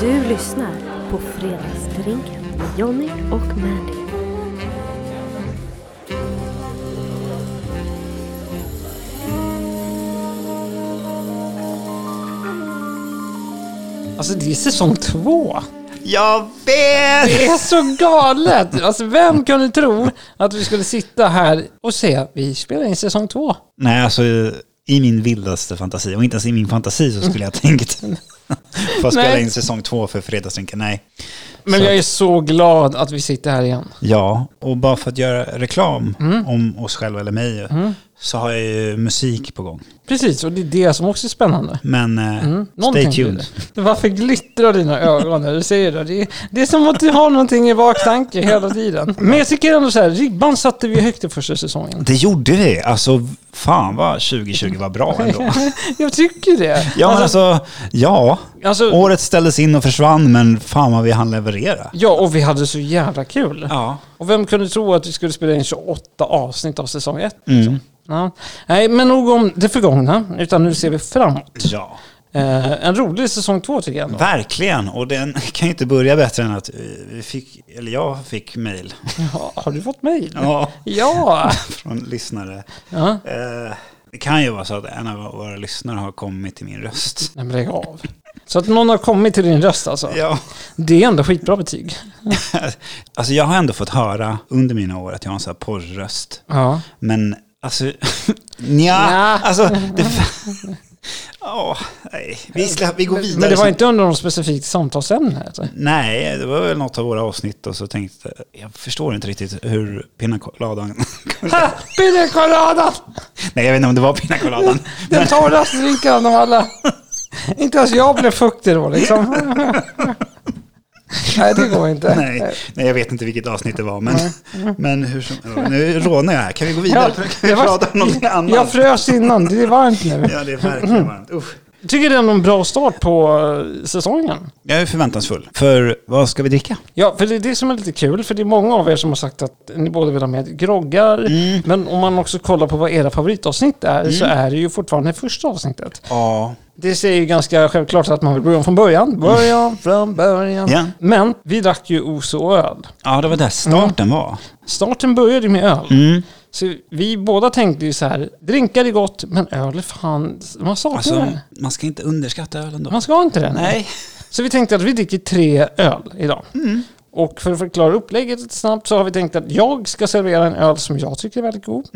Du lyssnar på Fredagsdrinken med Jonny och Mandy. Alltså det är säsong två. Jag vet! Det är så galet! Alltså vem kunde tro att vi skulle sitta här och säga vi spelar in säsong två? Nej, alltså i min vildaste fantasi, och inte ens i min fantasi så skulle jag tänkt få spela Nej. in säsong två för Fredagsdrinken. Nej. Men Så- jag är så glad att vi sitter här igen. Ja, och bara för att göra reklam om oss själva eller mig så har jag ju musik på gång. Precis, och det är det som också är spännande. Mm, Men eh, Någonting stay tuned. blir det. Varför glittrar dina ögon när du säger det? det? är- Det är som att du har någonting i baktanke hela tiden. Men jag tycker ändå så här, ribban satte vi högt i första säsongen. Det gjorde vi. Alltså, fan vad 2020 var bra ändå. Jag tycker det. Ja, men alltså, ja. Alltså- Året ställdes in och försvann, men fan vad vi hann leverera. Ja, och vi hade så jävla kul. Ja. Och vem kunde tro att vi skulle spela in 28 avsnitt av säsong 1? Mm. Ja. Nej, men nog om det förgångna, utan nu ser vi framåt. Ja. Eh, en rolig säsong 2 tycker jag ändå. Verkligen, och den kan ju inte börja bättre än att eh, vi fick, eller jag fick mejl Ja, har du fått mejl? Ja. Ja. från lyssnare. ja. Eh, Det kan ju vara så att en av våra lyssnare har kommit till min röst. Nej, men lägg av. Så att någon har kommit till din röst alltså. Ja. Det är ändå skitbra betyg. Alltså jag har ändå fått höra under mina år att jag har en sån här porrröst. Ja. Men alltså, nja, Nja. alltså det... Åh, nej. Vi, släpp, vi går vidare. Men det var sen. inte under något specifikt samtalsämne? Alltså. Nej, det var väl något av våra avsnitt och så tänkte jag, jag förstår inte riktigt hur Pina Coladan Ha! Pina colada! Nej, jag vet inte om det var Pina Coladan. Den torraste drinken av alla. inte ens jag blev fuktig då liksom. Nej, det går inte. Nej, nej, jag vet inte vilket avsnitt det var, men, men hur som, nu rånar jag här. Kan vi gå vidare? Kan vi det var- prata om någonting annat? Jag frös innan, det är varmt nu. ja, det är verkligen varmt. Usch. Tycker det är en bra start på eh, säsongen. Jag är förväntansfull. För vad ska vi dricka? Ja, för det är det som är lite kul, för det är många av er som har sagt att ni både vill ha med groggar, Mm. men om man också kollar på vad era favoritavsnitt är, så är det ju fortfarande första avsnittet. Ja. Det säger ju ganska självklart att man vill börja om från början. Början från början. Ja. Men vi drack ju os och öl. ja, det var där starten Mm. var. Starten började ju med öl. Mm. Så vi båda tänkte ju så här, drinkar är gott, men öl är fan, man saknar Alltså, det. man ska inte underskatta ölen då. Man ska inte det. Nej. Så vi tänkte att vi dricker tre öl idag. Och för att förklara upplägget lite snabbt så har vi tänkt att jag ska servera en öl som jag tycker är väldigt god.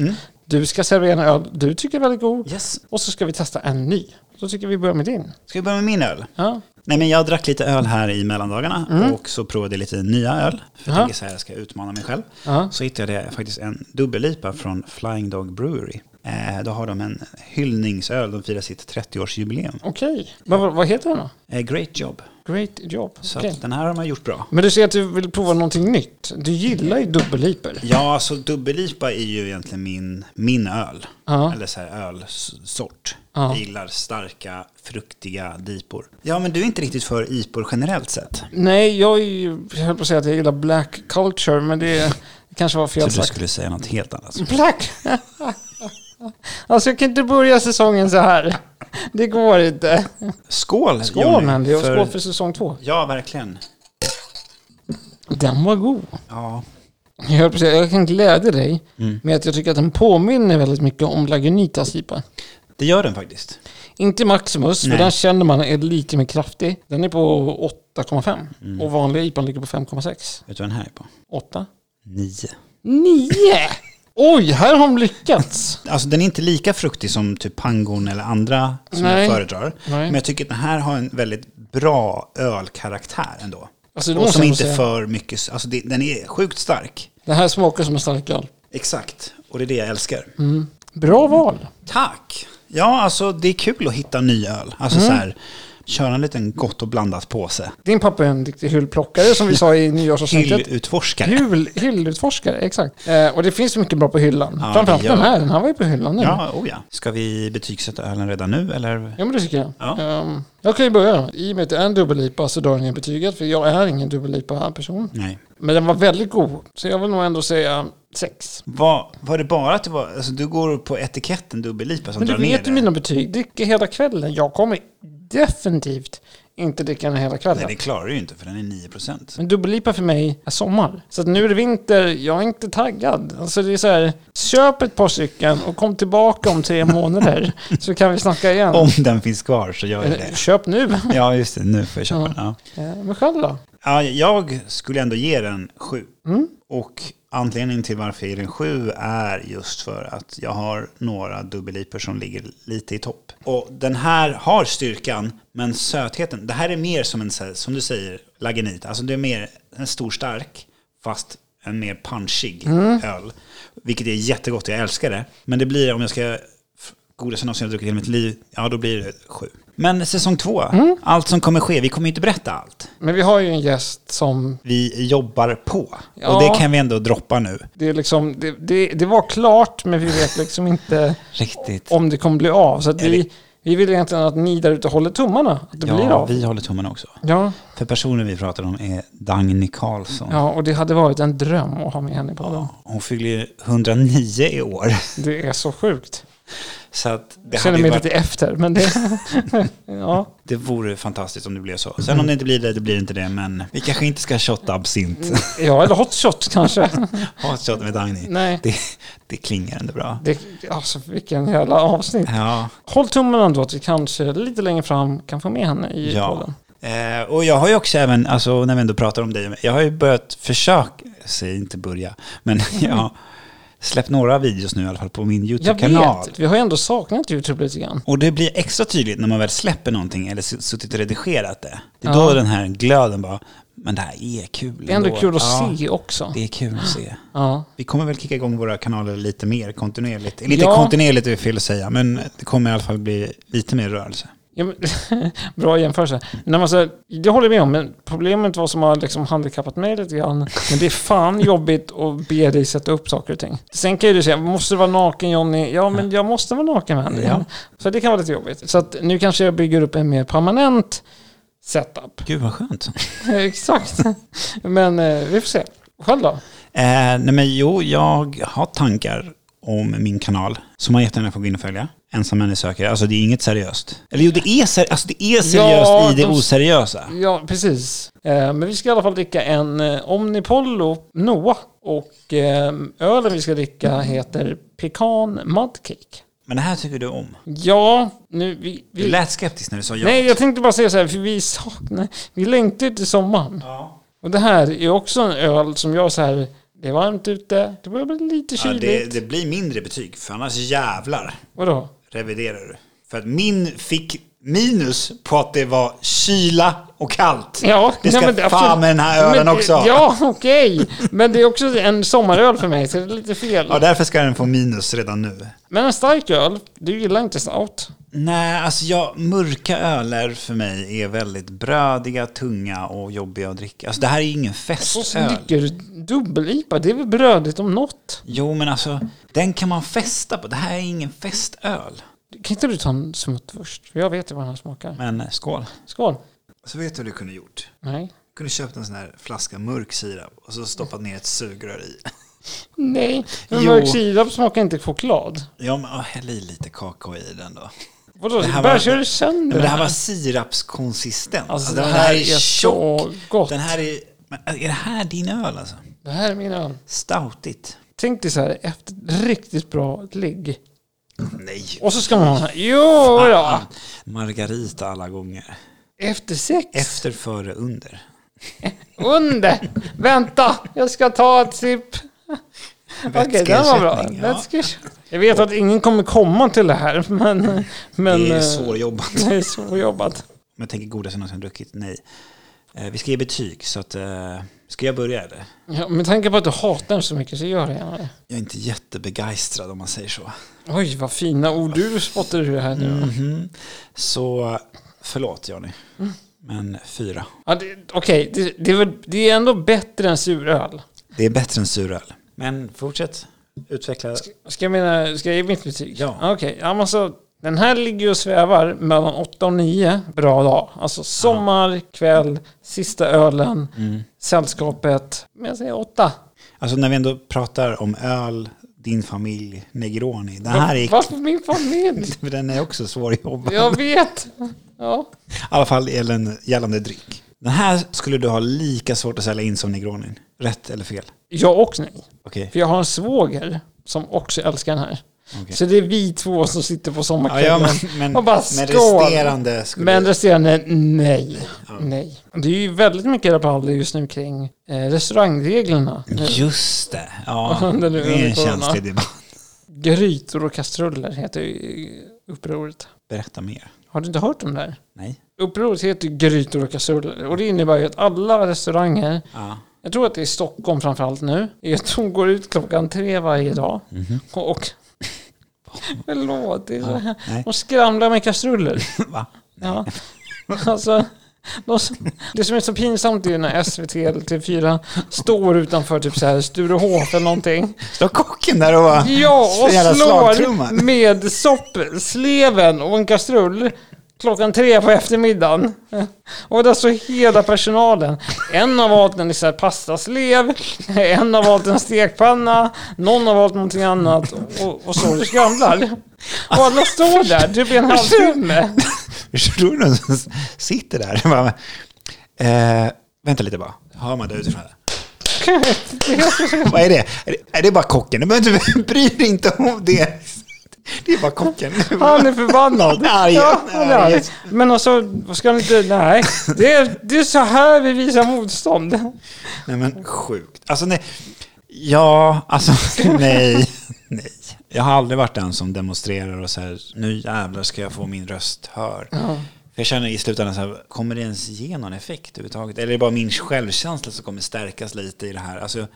Du ska servera en öl du tycker är väldigt god. Yes. Och så ska vi testa en ny. Så tycker vi börjar med din. Ska vi börja med min öl? Ja. Nej, men jag drack lite öl här i mellandagarna Mm. och så provade jag lite nya öl. För jag Ja. tänker så här, jag ska utmana mig själv. Ja. Så hittade jag faktiskt en dubbellipa från Flying Dog Brewery. Eh, då har de en hyllningsöl, de firar sitt 30-årsjubileum. Okej. Men vad, vad heter den då? Eh, great job. Great job. Så Okej. att den här har man gjort bra. Men du säger att du vill prova någonting nytt. Du gillar ju dubbelliper. Ja, alltså dubbellipa är ju egentligen min, min öl. Ja. Eller så här ölsort. Ja. Jag gillar starka, fruktiga dipor. Ja, men du är inte riktigt för ipor generellt sett. Nej, jag, är ju- jag höll på att säga att jag gillar black culture, men det kanske var fel Jag du sagt. skulle säga något helt annat. Black! alltså jag kan inte börja säsongen så här. Det går inte. Skål, Skål Johnny, Mandy, och skål för säsong två. Ja, verkligen. Den var god. Ja. Jag höll på att säga, jag kan glädja dig Mm. med att jag tycker att den påminner väldigt mycket om Lagunitas IPA. Det gör den faktiskt. Inte Maximus, Nej. för den känner man är lite mer kraftig. Den är på 8,5 Mm. och vanliga IPA ligger på 5,6. Vet du vad den här är på? 8. Nio. 9! Oj, här har de lyckats! Alltså den är inte lika fruktig som typ Pangon eller andra som Nej. jag föredrar. Nej. Men jag tycker att den här har en väldigt bra ölkaraktär ändå. Alltså, det Och måste som jag nog inte säga. för mycket, s- alltså det, den är sjukt stark. Det här smakar som en starköl. Exakt, och det är det jag älskar. Mm. Bra val! Tack! Ja, alltså det är kul att hitta ny öl. Alltså Mm. så här, köra en liten gott och blandat påse. Din pappa är en riktig hyllplockare som vi sa i nyårsavsnittet. Hyllutforskare. Hyll, hyllutforskare, exakt. Eh, och det finns så mycket bra på hyllan. Ja, Framförallt det gör den här, den här var ju på hyllan nu. Ja, Ja, oh ja. Ska vi betygsätta ölen redan nu eller? men det tycker jag. Ja. Ehm, jag kan ju börja. I och med att det är en dubbellipa så drar jag ner betyget, för jag är ingen dubbellipa-person. Nej. Men den var väldigt god, så jag vill nog ändå säga sex. Var, var det bara att det var, alltså du går på etiketten dubbellipa som Men du drar ner vet ju det? mina betyg, dricker hela kvällen. Jag kommer definitivt inte dricka den hela kvällen. Nej, det klarar du ju inte för den är 9 procent. Men dubbellipa för mig är sommar. Så att nu är det vinter, jag är inte taggad. Alltså det är så här, köp ett par stycken och kom tillbaka om tre månader så kan vi snacka igen. Om den finns kvar så gör jag Eller, det. köp nu. Ja, just det. Nu får jag köpa Ja. den. Ja. Eh, Men själv då? Ja, jag skulle ändå ge den sju. Mm. Och anledningen till varför jag ger den sju är just för att jag har några dubbelliper som ligger lite i topp. Och den här har styrkan, men sötheten. Det här är mer som en, så här- som du säger, lagenit. Alltså det är mer en stor stark, fast en mer punchig öl. Vilket är jättegott, jag älskar det. Men det blir, om jag ska godaste någonsin jag druckit i hela mitt liv, ja då blir det sju. Men säsong två, allt som kommer ske, vi kommer ju inte berätta allt Men vi har ju en gäst som, vi jobbar på. Ja. Och det kan vi ändå droppa nu. det, är liksom, det, det, det var klart men vi vet liksom inte Riktigt. om det kommer bli av. Så att Eller- vi, vi vill egentligen att ni där ute håller tummarna att det blir Ja, av. vi håller tummarna också. Ja, För personen vi pratar om är Dagny Karlsson. ja, och det hade varit en dröm att ha med henne på podden. Hon fyller 109 i år. Det är så sjukt. Så att det, Jag känner hade ju mig varit, lite efter, men det... ja. det vore fantastiskt om det blev så. Sen om det inte blir det, det blir inte det. Men vi kanske inte ska shotta Mm. absint. Ja, eller hot shot kanske. Ha ett shot med Dagny. Nej. Det, det klingar ändå bra. Det, alltså vilken jävla avsnitt. Ja, Håll tummen ändå att vi kanske lite längre fram kan få med henne i Ja. podden. Eh, och jag har ju också även, alltså när vi ändå pratar om dig, jag har ju börjat försöka, säg inte börja, men jag har släppt några videos nu i alla fall på min Jag YouTube-kanal. vet, vi har ju ändå saknat YouTube lite grann. Och det blir extra tydligt när man väl släpper någonting eller s- suttit och redigerat det. Det är Ja. då den här glöden bara, men det här är kul. Det är ändå kul att Ja, se också. Det är kul att se. Ja. Vi kommer väl kicka igång våra kanaler lite mer kontinuerligt. Lite Ja. kontinuerligt är fel att säga, men det kommer i alla fall bli lite mer rörelse. Ja, men, bra jämförelse. När man säger, det håller jag med om, men problemet var som har liksom handikappat mig lite grann. Men det är fan jobbigt att be dig sätta upp saker och ting. Sen kan ju du säga, måste du vara naken Johnny? Ja, men jag måste vara naken Andy. Ja. Så det kan vara lite jobbigt. Så att nu kanske jag bygger upp en mer permanent setup. Gud vad skönt. Exakt. Men eh, vi får se. Själv då? Eh, nej men jo, jag har tankar om min kanal som man jättegärna får gå in och följa. Ensam människa söker. Alltså det är inget seriöst. Eller jo, det är, ser- alltså, det är seriöst i det de- oseriösa. Ja, precis. Eh, men vi ska i alla fall dricka en eh, Omnipollo Noah. Och eh, ölen vi ska dricka heter Pecan Mudcake. Men det här tycker du om. Ja, nu... Vi, Du vi, lät skeptisk när du sa ja. nej, jag tänkte bara säga så här, för vi saknar... Vi längtar ju till sommaren. Ja. Och det här är också en öl som jag så här... Det är varmt ute, det börjar bli lite Ja, kyligt. det, det blir mindre betyg, för annars jävlar Vadå? reviderar du. För att min fick minus på att det var kyla och kallt. Ja, det ska nej, men det- fan absolut. med den här ölen Men- också. Ja, okej. Men det är också en sommaröl för mig, så det är lite fel. ja, därför ska den få minus redan nu. Men en stark öl, du gillar inte stout. Nej, alltså jag, mörka öler för mig är väldigt brödiga, tunga och jobbiga att dricka. Alltså det här är ju ingen Så festöl. dricker du dubbel-IPA, det är väl brödigt om något. Jo, men alltså den kan man festa på. Det här är ingen festöl. Kan inte du ta en smutt först? För jag vet ju vad den här smakar. Men eh, skål. Skål. Så Alltså, vet du vad du kunde gjort? Nej. Du kunde köpt en sån här flaska mörk sirap och så stoppat ner ett sugrör i. Nej, men Jo. mörk sirap smakar inte choklad. Ja, men åh, häll i lite kakao i den då. Vadå, Det här bara var- kör du sönder Nej, men det den här var sirapskonsistens. Alltså det här är så gott. Den här är... Men är det här din öl alltså? Det här är min öl. Stoutigt. Tänk dig så här, efter ett riktigt bra ligg. Nej. Och så ska man ha... Jo, ja. Margarita alla gånger. Efter sex. Efter, före, under. Under! Vänta, jag ska ta ett sipp. Okej, den var bra. Vätskeersättning, ja. Vätske- Jag vet att ingen kommer komma till det här, men... men det är eh, så jobbat. Om det är så jobbat. jag tänker godaste jag någonsin druckit, nej. Eh, vi ska ge betyg, så att... Eh, ska jag börja eller? Ja, med tanke på att du hatar den så mycket så gör jag gärna det. Jag är inte jättebegeistrad om man säger så. Oj, vad fina ord du spottar ur här nu. Mhm. Så förlåt Johnny. Mm. Men fyra. Ja, det- Okej, det, det, är väl- det är ändå bättre än suröl. Det är bättre än suröl. Men fortsätt utveckla. Ska jag, mena, ska jag ge mitt betyg? Ja. Okej, ja, men så, den här ligger ju och svävar mellan 8 och 9. Bra dag. Alltså sommar, kväll, sista ölen, Mm. sällskapet. Men jag säger 8. Alltså när vi ändå pratar om öl, din familj, Negroni. Den här är... Varför min familj? Den är också svårjobbad. Jag vet. Ja. alla fall gällande, gällande dryck. Den här skulle du ha lika svårt att sälja in som Negronin. Rätt eller fel? Jag och nej. Okej. För jag har en svåger som också älskar den här. Okej. Så det är vi två som sitter på Ja, sommarkvällen. ja, men, men, Och bara men skål. resterande skulle... Men resterande, nej. nej. Det är ju väldigt mycket rabalder just nu kring eh, restaurangreglerna. Eh, Mm. Just det. Ja, Under det nu är en under corona. känslig debatt. Grytor och kastruller heter ju upproret. Berätta mer. Har du inte hört om det här? Nej. Upproret heter ju Grytor och kastruller och det innebär ju att alla restauranger, Ja. jag tror att det är i Stockholm framförallt nu, är att de går ut klockan tre varje dag och, och Förlåt, det är så här. nej. De skramlar med kastruller. Va? Ja. Alltså, de, som- det som är så pinsamt är ju när SVT eller TV4 står utanför typ så här Sturehof eller någonting. Står kocken där och bara... Ja, och Spelar slår slagtrumman. med soppsleven och en kastrull klockan tre på eftermiddagen. Och där står hela personalen. En har valt en så här pastaslev, en har valt en stekpanna, någon har valt någonting annat och, och så det skramlar. Och alla står där typ i en halvtimme. Tror du någon som sitter där och bara... Eh, vänta lite bara. Hör man det utifrån? Vad är det? Är det, är det bara kocken? Du behöver inte bry dig inte om det. Det är bara kocken. Han är förbannad. Han är arg. Ja, han är arg. Yes. Men alltså, vad ska han inte... Nej, det är, det är så här vi visar motstånd. Nej men sjukt. Alltså nej. Ja, alltså nej. Nej. Jag har aldrig varit den som demonstrerar och så här, nu jävlar ska jag få min röst hörd. För jag känner i slutändan så här, kommer det ens ge någon effekt överhuvudtaget? Eller är det bara min självkänsla som kommer stärkas lite i det här? Alltså,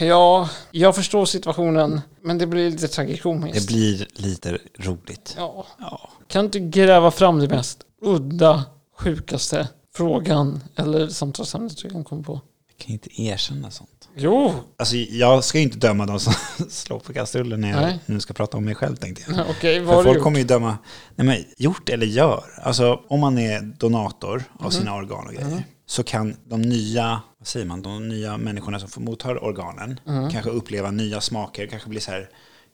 Ja, jag förstår situationen, men det blir lite tragikomiskt. det blir lite roligt. ja. Ja. Kan du gräva fram det mest udda, sjukaste frågan eller samtalsämnet du kan komma på? Jag kan inte erkänna sånt. Jo, Alltså, jag ska ju inte döma de som slår på kastrullen när jag Nej. nu ska prata om mig själv tänkte jag. okej, vad För har du folk gjort? kommer ju döma, nej men gjort eller gör. Alltså om man är donator av sina organ och grejer så kan de nya, vad säger man, de nya människorna som får mottar organen kanske uppleva nya smaker, kanske bli så här,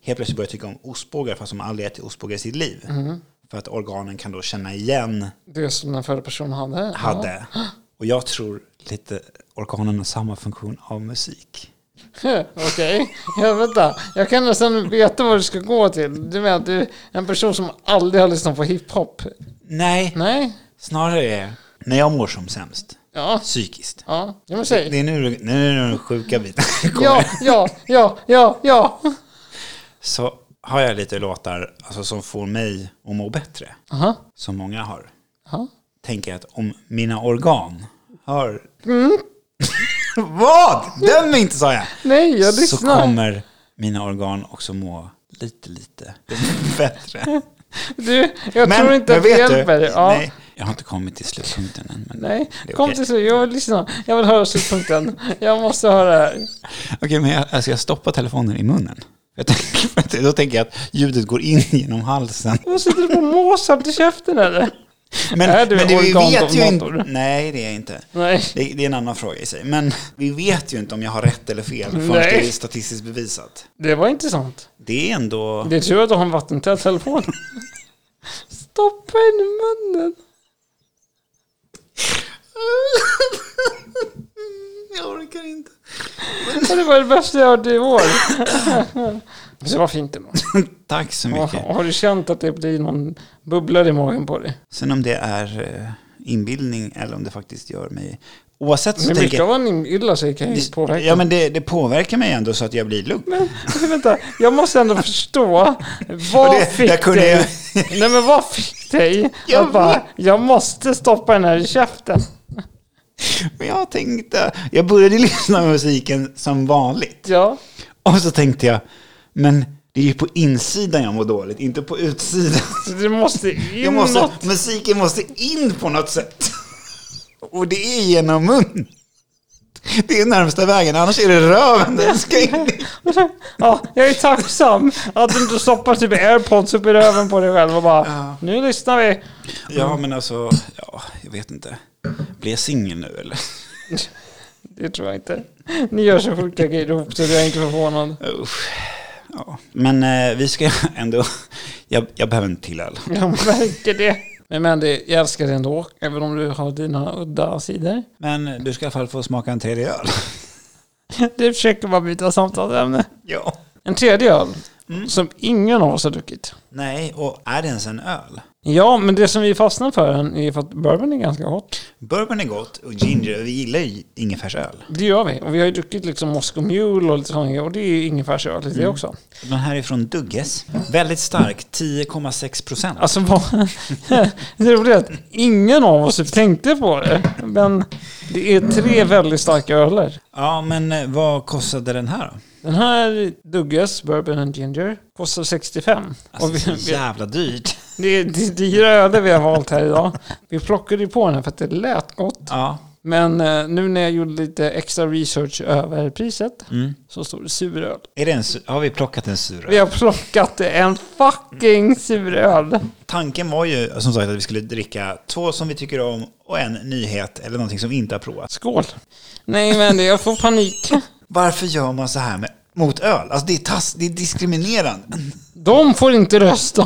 helt plötsligt börja tycka om ostbågar fast de aldrig ätit ostbågar i sitt liv. För att organen kan då känna igen Det som den förra personen hade? hade. Och jag tror lite organen har samma funktion av musik. Ja. Okej, ja, vänta. Jag kan nästan veta vad du ska gå till. Du menar att du är en person som aldrig har lyssnat på hiphop? Nej, Nej? snarare är när jag mår som sämst, Ja. psykiskt. Ja, ja men säg. Det är nu, nu är det den sjuka biten kommer. Ja, ja, ja, ja, ja. så har jag lite låtar alltså, som får mig att må bättre, Aha, som många har. aha. Tänker jag att om mina organ hör... Mm. Vad? Döm mig inte sa jag! Nej, jag Så lyssnar. kommer mina organ också må lite, lite bättre. Du, jag tror inte att det vet du? hjälper. Ja. Nej, jag har inte kommit till slutpunkten än. Men... Nej, Det är kom okej. till slut. Jag vill lyssna. Jag vill höra slutpunkten. Jag måste höra det här. Okej, men jag, alltså jag stoppar telefonen i munnen. Jag tänker, då tänker jag att ljudet går in genom halsen. Vad sitter du på Mozart i käften eller? Men, Är du men organdonator? inte. Nej, det är jag inte. Nej. Det, det är en annan fråga i sig. Men vi vet ju inte om jag har rätt eller fel förrän Nej. det är statistiskt bevisat. Det var intressant. Det är ändå... Det är tur att du har en vattentät telefon. Stoppa in i munnen. Jag orkar inte. Det var det bästa jag hört i år. Så det var fint ändå. Tack så Och mycket. Har du känt att det blir någon bubblar i magen på dig? Sen om det är eh, inbildning eller om det faktiskt gör mig... Oavsett så Men tänker mycket av jag... vad man inbillar sig kan ju påverka. Ja, men det, det påverkar mig ändå så att jag blir lugn. Men vänta, jag måste ändå förstå. Vad Och det- där fick kunde dig? jag- Nej men vad fick dig Jag att bara, vet. jag måste stoppa den här i käften. Men jag tänkte... Jag började lyssna på musiken som vanligt. Ja. Och så tänkte jag, men det är ju på insidan jag mår dåligt, inte på utsidan. Så du måste Jag in måste, något. musiken måste in på något sätt. Och det är genom mun. Det är närmsta vägen, annars är det röven den ska in i. Ja, jag är tacksam att du inte stoppar typ airpods upp i röven på dig själv och bara, Ja. nu lyssnar vi. Ja, men alltså, ja, jag vet inte. Blir jag singel nu eller? Det tror jag inte. Ni gör så sjuka grejer ihop så jag är inte förvånad. Usch. Ja. Men eh, vi ska ändå... Jag, jag behöver en till öl. Jag märker det. Men, men det, jag älskar det ändå, även om du har dina udda sidor. Men du ska i alla fall få smaka en tredje öl. Du försöker bara byta samtalsämne. Ja. En tredje öl, som ingen av oss har druckit. Nej, och är det ens en öl? Ja, men det som vi fastnar för än är för att bourbon är ganska hot. Bourbon är gott och ginger, vi gillar ju ingefärsöl. Det gör vi. Och vi har ju druckit liksom Moscow Mule och lite sånt. här, Och det är ju ingefärsöl lite det också. Den här är från Dugges. Väldigt stark, 10,6 procent. Alltså vad... det roliga är att ingen av oss typ tänkte på det. Men det är tre väldigt starka öler. Ja, men eh, vad kostade den här då? Den här Dugges Bourbon and Ginger kostar 65. Alltså, och vi, så vi, jävla dyrt. det är det är dyra öde vi har valt här idag. Vi plockade ju på den här för att det lät gott. Ja. Men eh, nu när jag gjorde lite extra research över priset Mm. så står det suröl. Är det en, su- har vi plockat en sur Vi öl? har plockat en fucking suröl. Tanken var ju som sagt att vi skulle dricka två som vi tycker om och en nyhet eller någonting som vi inte har provat. Skål. Nej men det- jag får panik. Varför gör man så här med, mot öl? Alltså det är, tass, det är diskriminerande. De får inte rösta.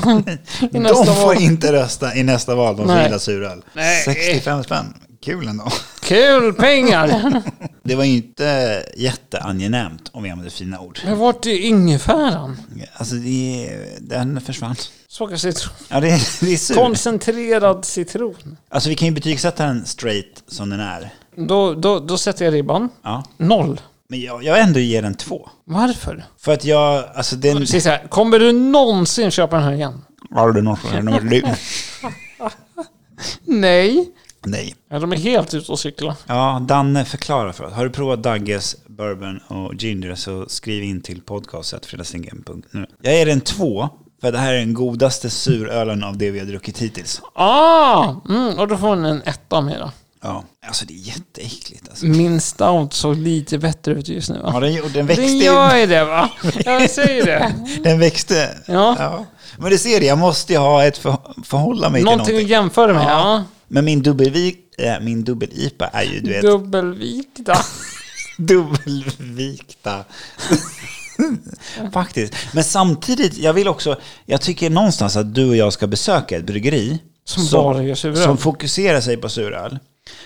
i nästa De får val. inte rösta i nästa val, de får Nej. gilla suröl. Nej. 65 spänn, kul ändå. Kul pengar. Det var ju inte jätteangenämt om vi använder fina ord. Men vart är ingefäran? Alltså det, den försvann. Smakar citron. Ja, det, är- det är sur. Koncentrerad citron. Alltså vi kan ju betygsätta den straight som den är. Då, då, då sätter jag ribban. Ja. Noll. Men jag, jag ändå ger den två. Varför? För att jag, alltså den... Precis så här. Kommer du någonsin köpa den här igen? Har du något för den? Har du- Nej. Nej. Ja, de är helt ute och cyklar. Ja, Danne förklara för oss. Har du provat Dagges bourbon och ginger så skriv in till podcastetfredagslinjen.nu. Jag ger den två, för det här är den godaste surölen av det vi har druckit hittills. Ah! Mm, och då får den en etta av mig då. Ja, alltså det är jätteäckligt alltså. Min stout såg lite bättre ut just nu va? Ja, den, och den Den växte gör ju det va? Jag säger det. Den växte. Ja. Men du ser det, jag måste ju ha ett för, förhålla mig Någonting att till någonting. jämföra med. Ja. Men min dubbelvik, eh, min dubbel-IPA är ju du vet, Dubbelvikta. dubbelvikta. Faktiskt. Men samtidigt, jag vill också, jag tycker någonstans att du och jag ska besöka ett bryggeri Som bara gör suröl. Som fokuserar sig på suröl.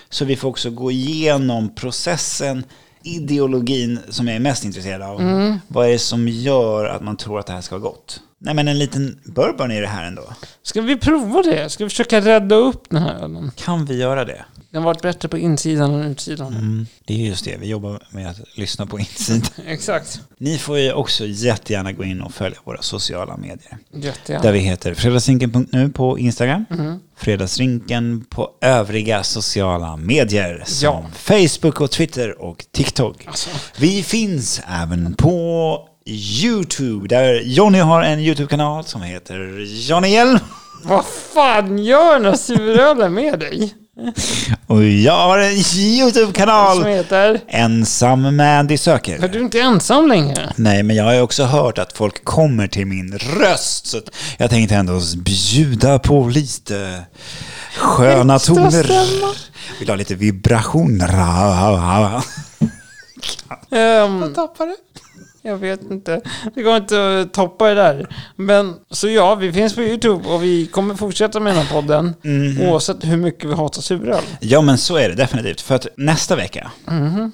Så vi får också gå igenom processen, ideologin som jag är mest intresserad av. Mm. Vad är det som gör att man tror att det här ska vara gott? Nej men en liten bourbon är det här ändå. Ska vi prova det? Ska vi försöka rädda upp den här ölen? Kan vi göra det? Mm. Den har varit bättre på insidan än utsidan. Det är just det, vi jobbar med att lyssna på insidan. Exakt. Ni får ju också jättegärna gå in och följa våra sociala medier. Där Jättegärna. vi heter fredagsrinken.nu på Instagram. Mhm. Fredagsrinken på övriga sociala medier som Facebook och Twitter och TikTok. Alltså. Vi finns även på YouTube där Jonny har en YouTube-kanal som heter Johnny Hjelm. Vad fan gör den här surölen med dig? Och jag har en Som YouTube-kanal heter... ensam Mandy söker. För du är inte ensam längre. Nej, men jag har ju också hört att folk kommer till min röst. Så att jag tänkte ändå bjuda på lite sköna Extra toner. stämma. Vill ha lite vibrationer. Um, tappar det? Jag vet inte. Det går inte att toppa det där. Men så ja, vi finns på YouTube och vi kommer fortsätta med den här podden. Mhm. Oavsett hur mycket vi hatar suröl. Ja, men så är det definitivt. För att nästa vecka,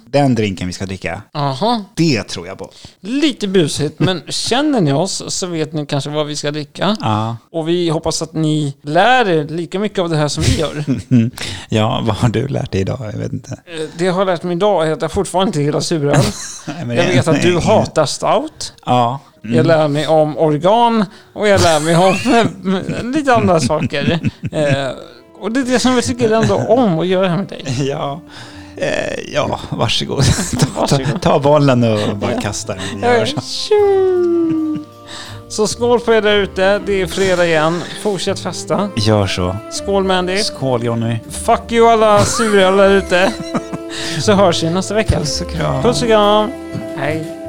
den drinken vi ska dricka, Aha. det tror jag på. Lite busigt, men känner ni oss så vet ni kanske vad vi ska dricka. Ja, Och vi hoppas att ni lär er lika mycket av det här som vi gör. Mm. ja vad har du lärt dig idag? Jag vet inte. Eh, Det jag har lärt mig idag är att jag fortfarande inte gillar suröl. Nej, men Jag det- vet att du nej. hatar stout. Ja. Jag lär mig om organ och jag lär mig om eh, lite andra saker. Eh, Och det är det som jag tycker ändå om att göra här med dig. Ja. Eh, ja, varsågod. ta, ta, Varsågod. ta bollen och bara kasta den. Jag gör så. Tjum! Eh, Så skål på er där ute. Det är fredag igen. Fortsätt festa. Gör så. Skål Mandy. Skål Jonny. Fuck you alla suröl där ute. Så hörs vi nästa vecka. Puss och kram. Puss och kram. Hej.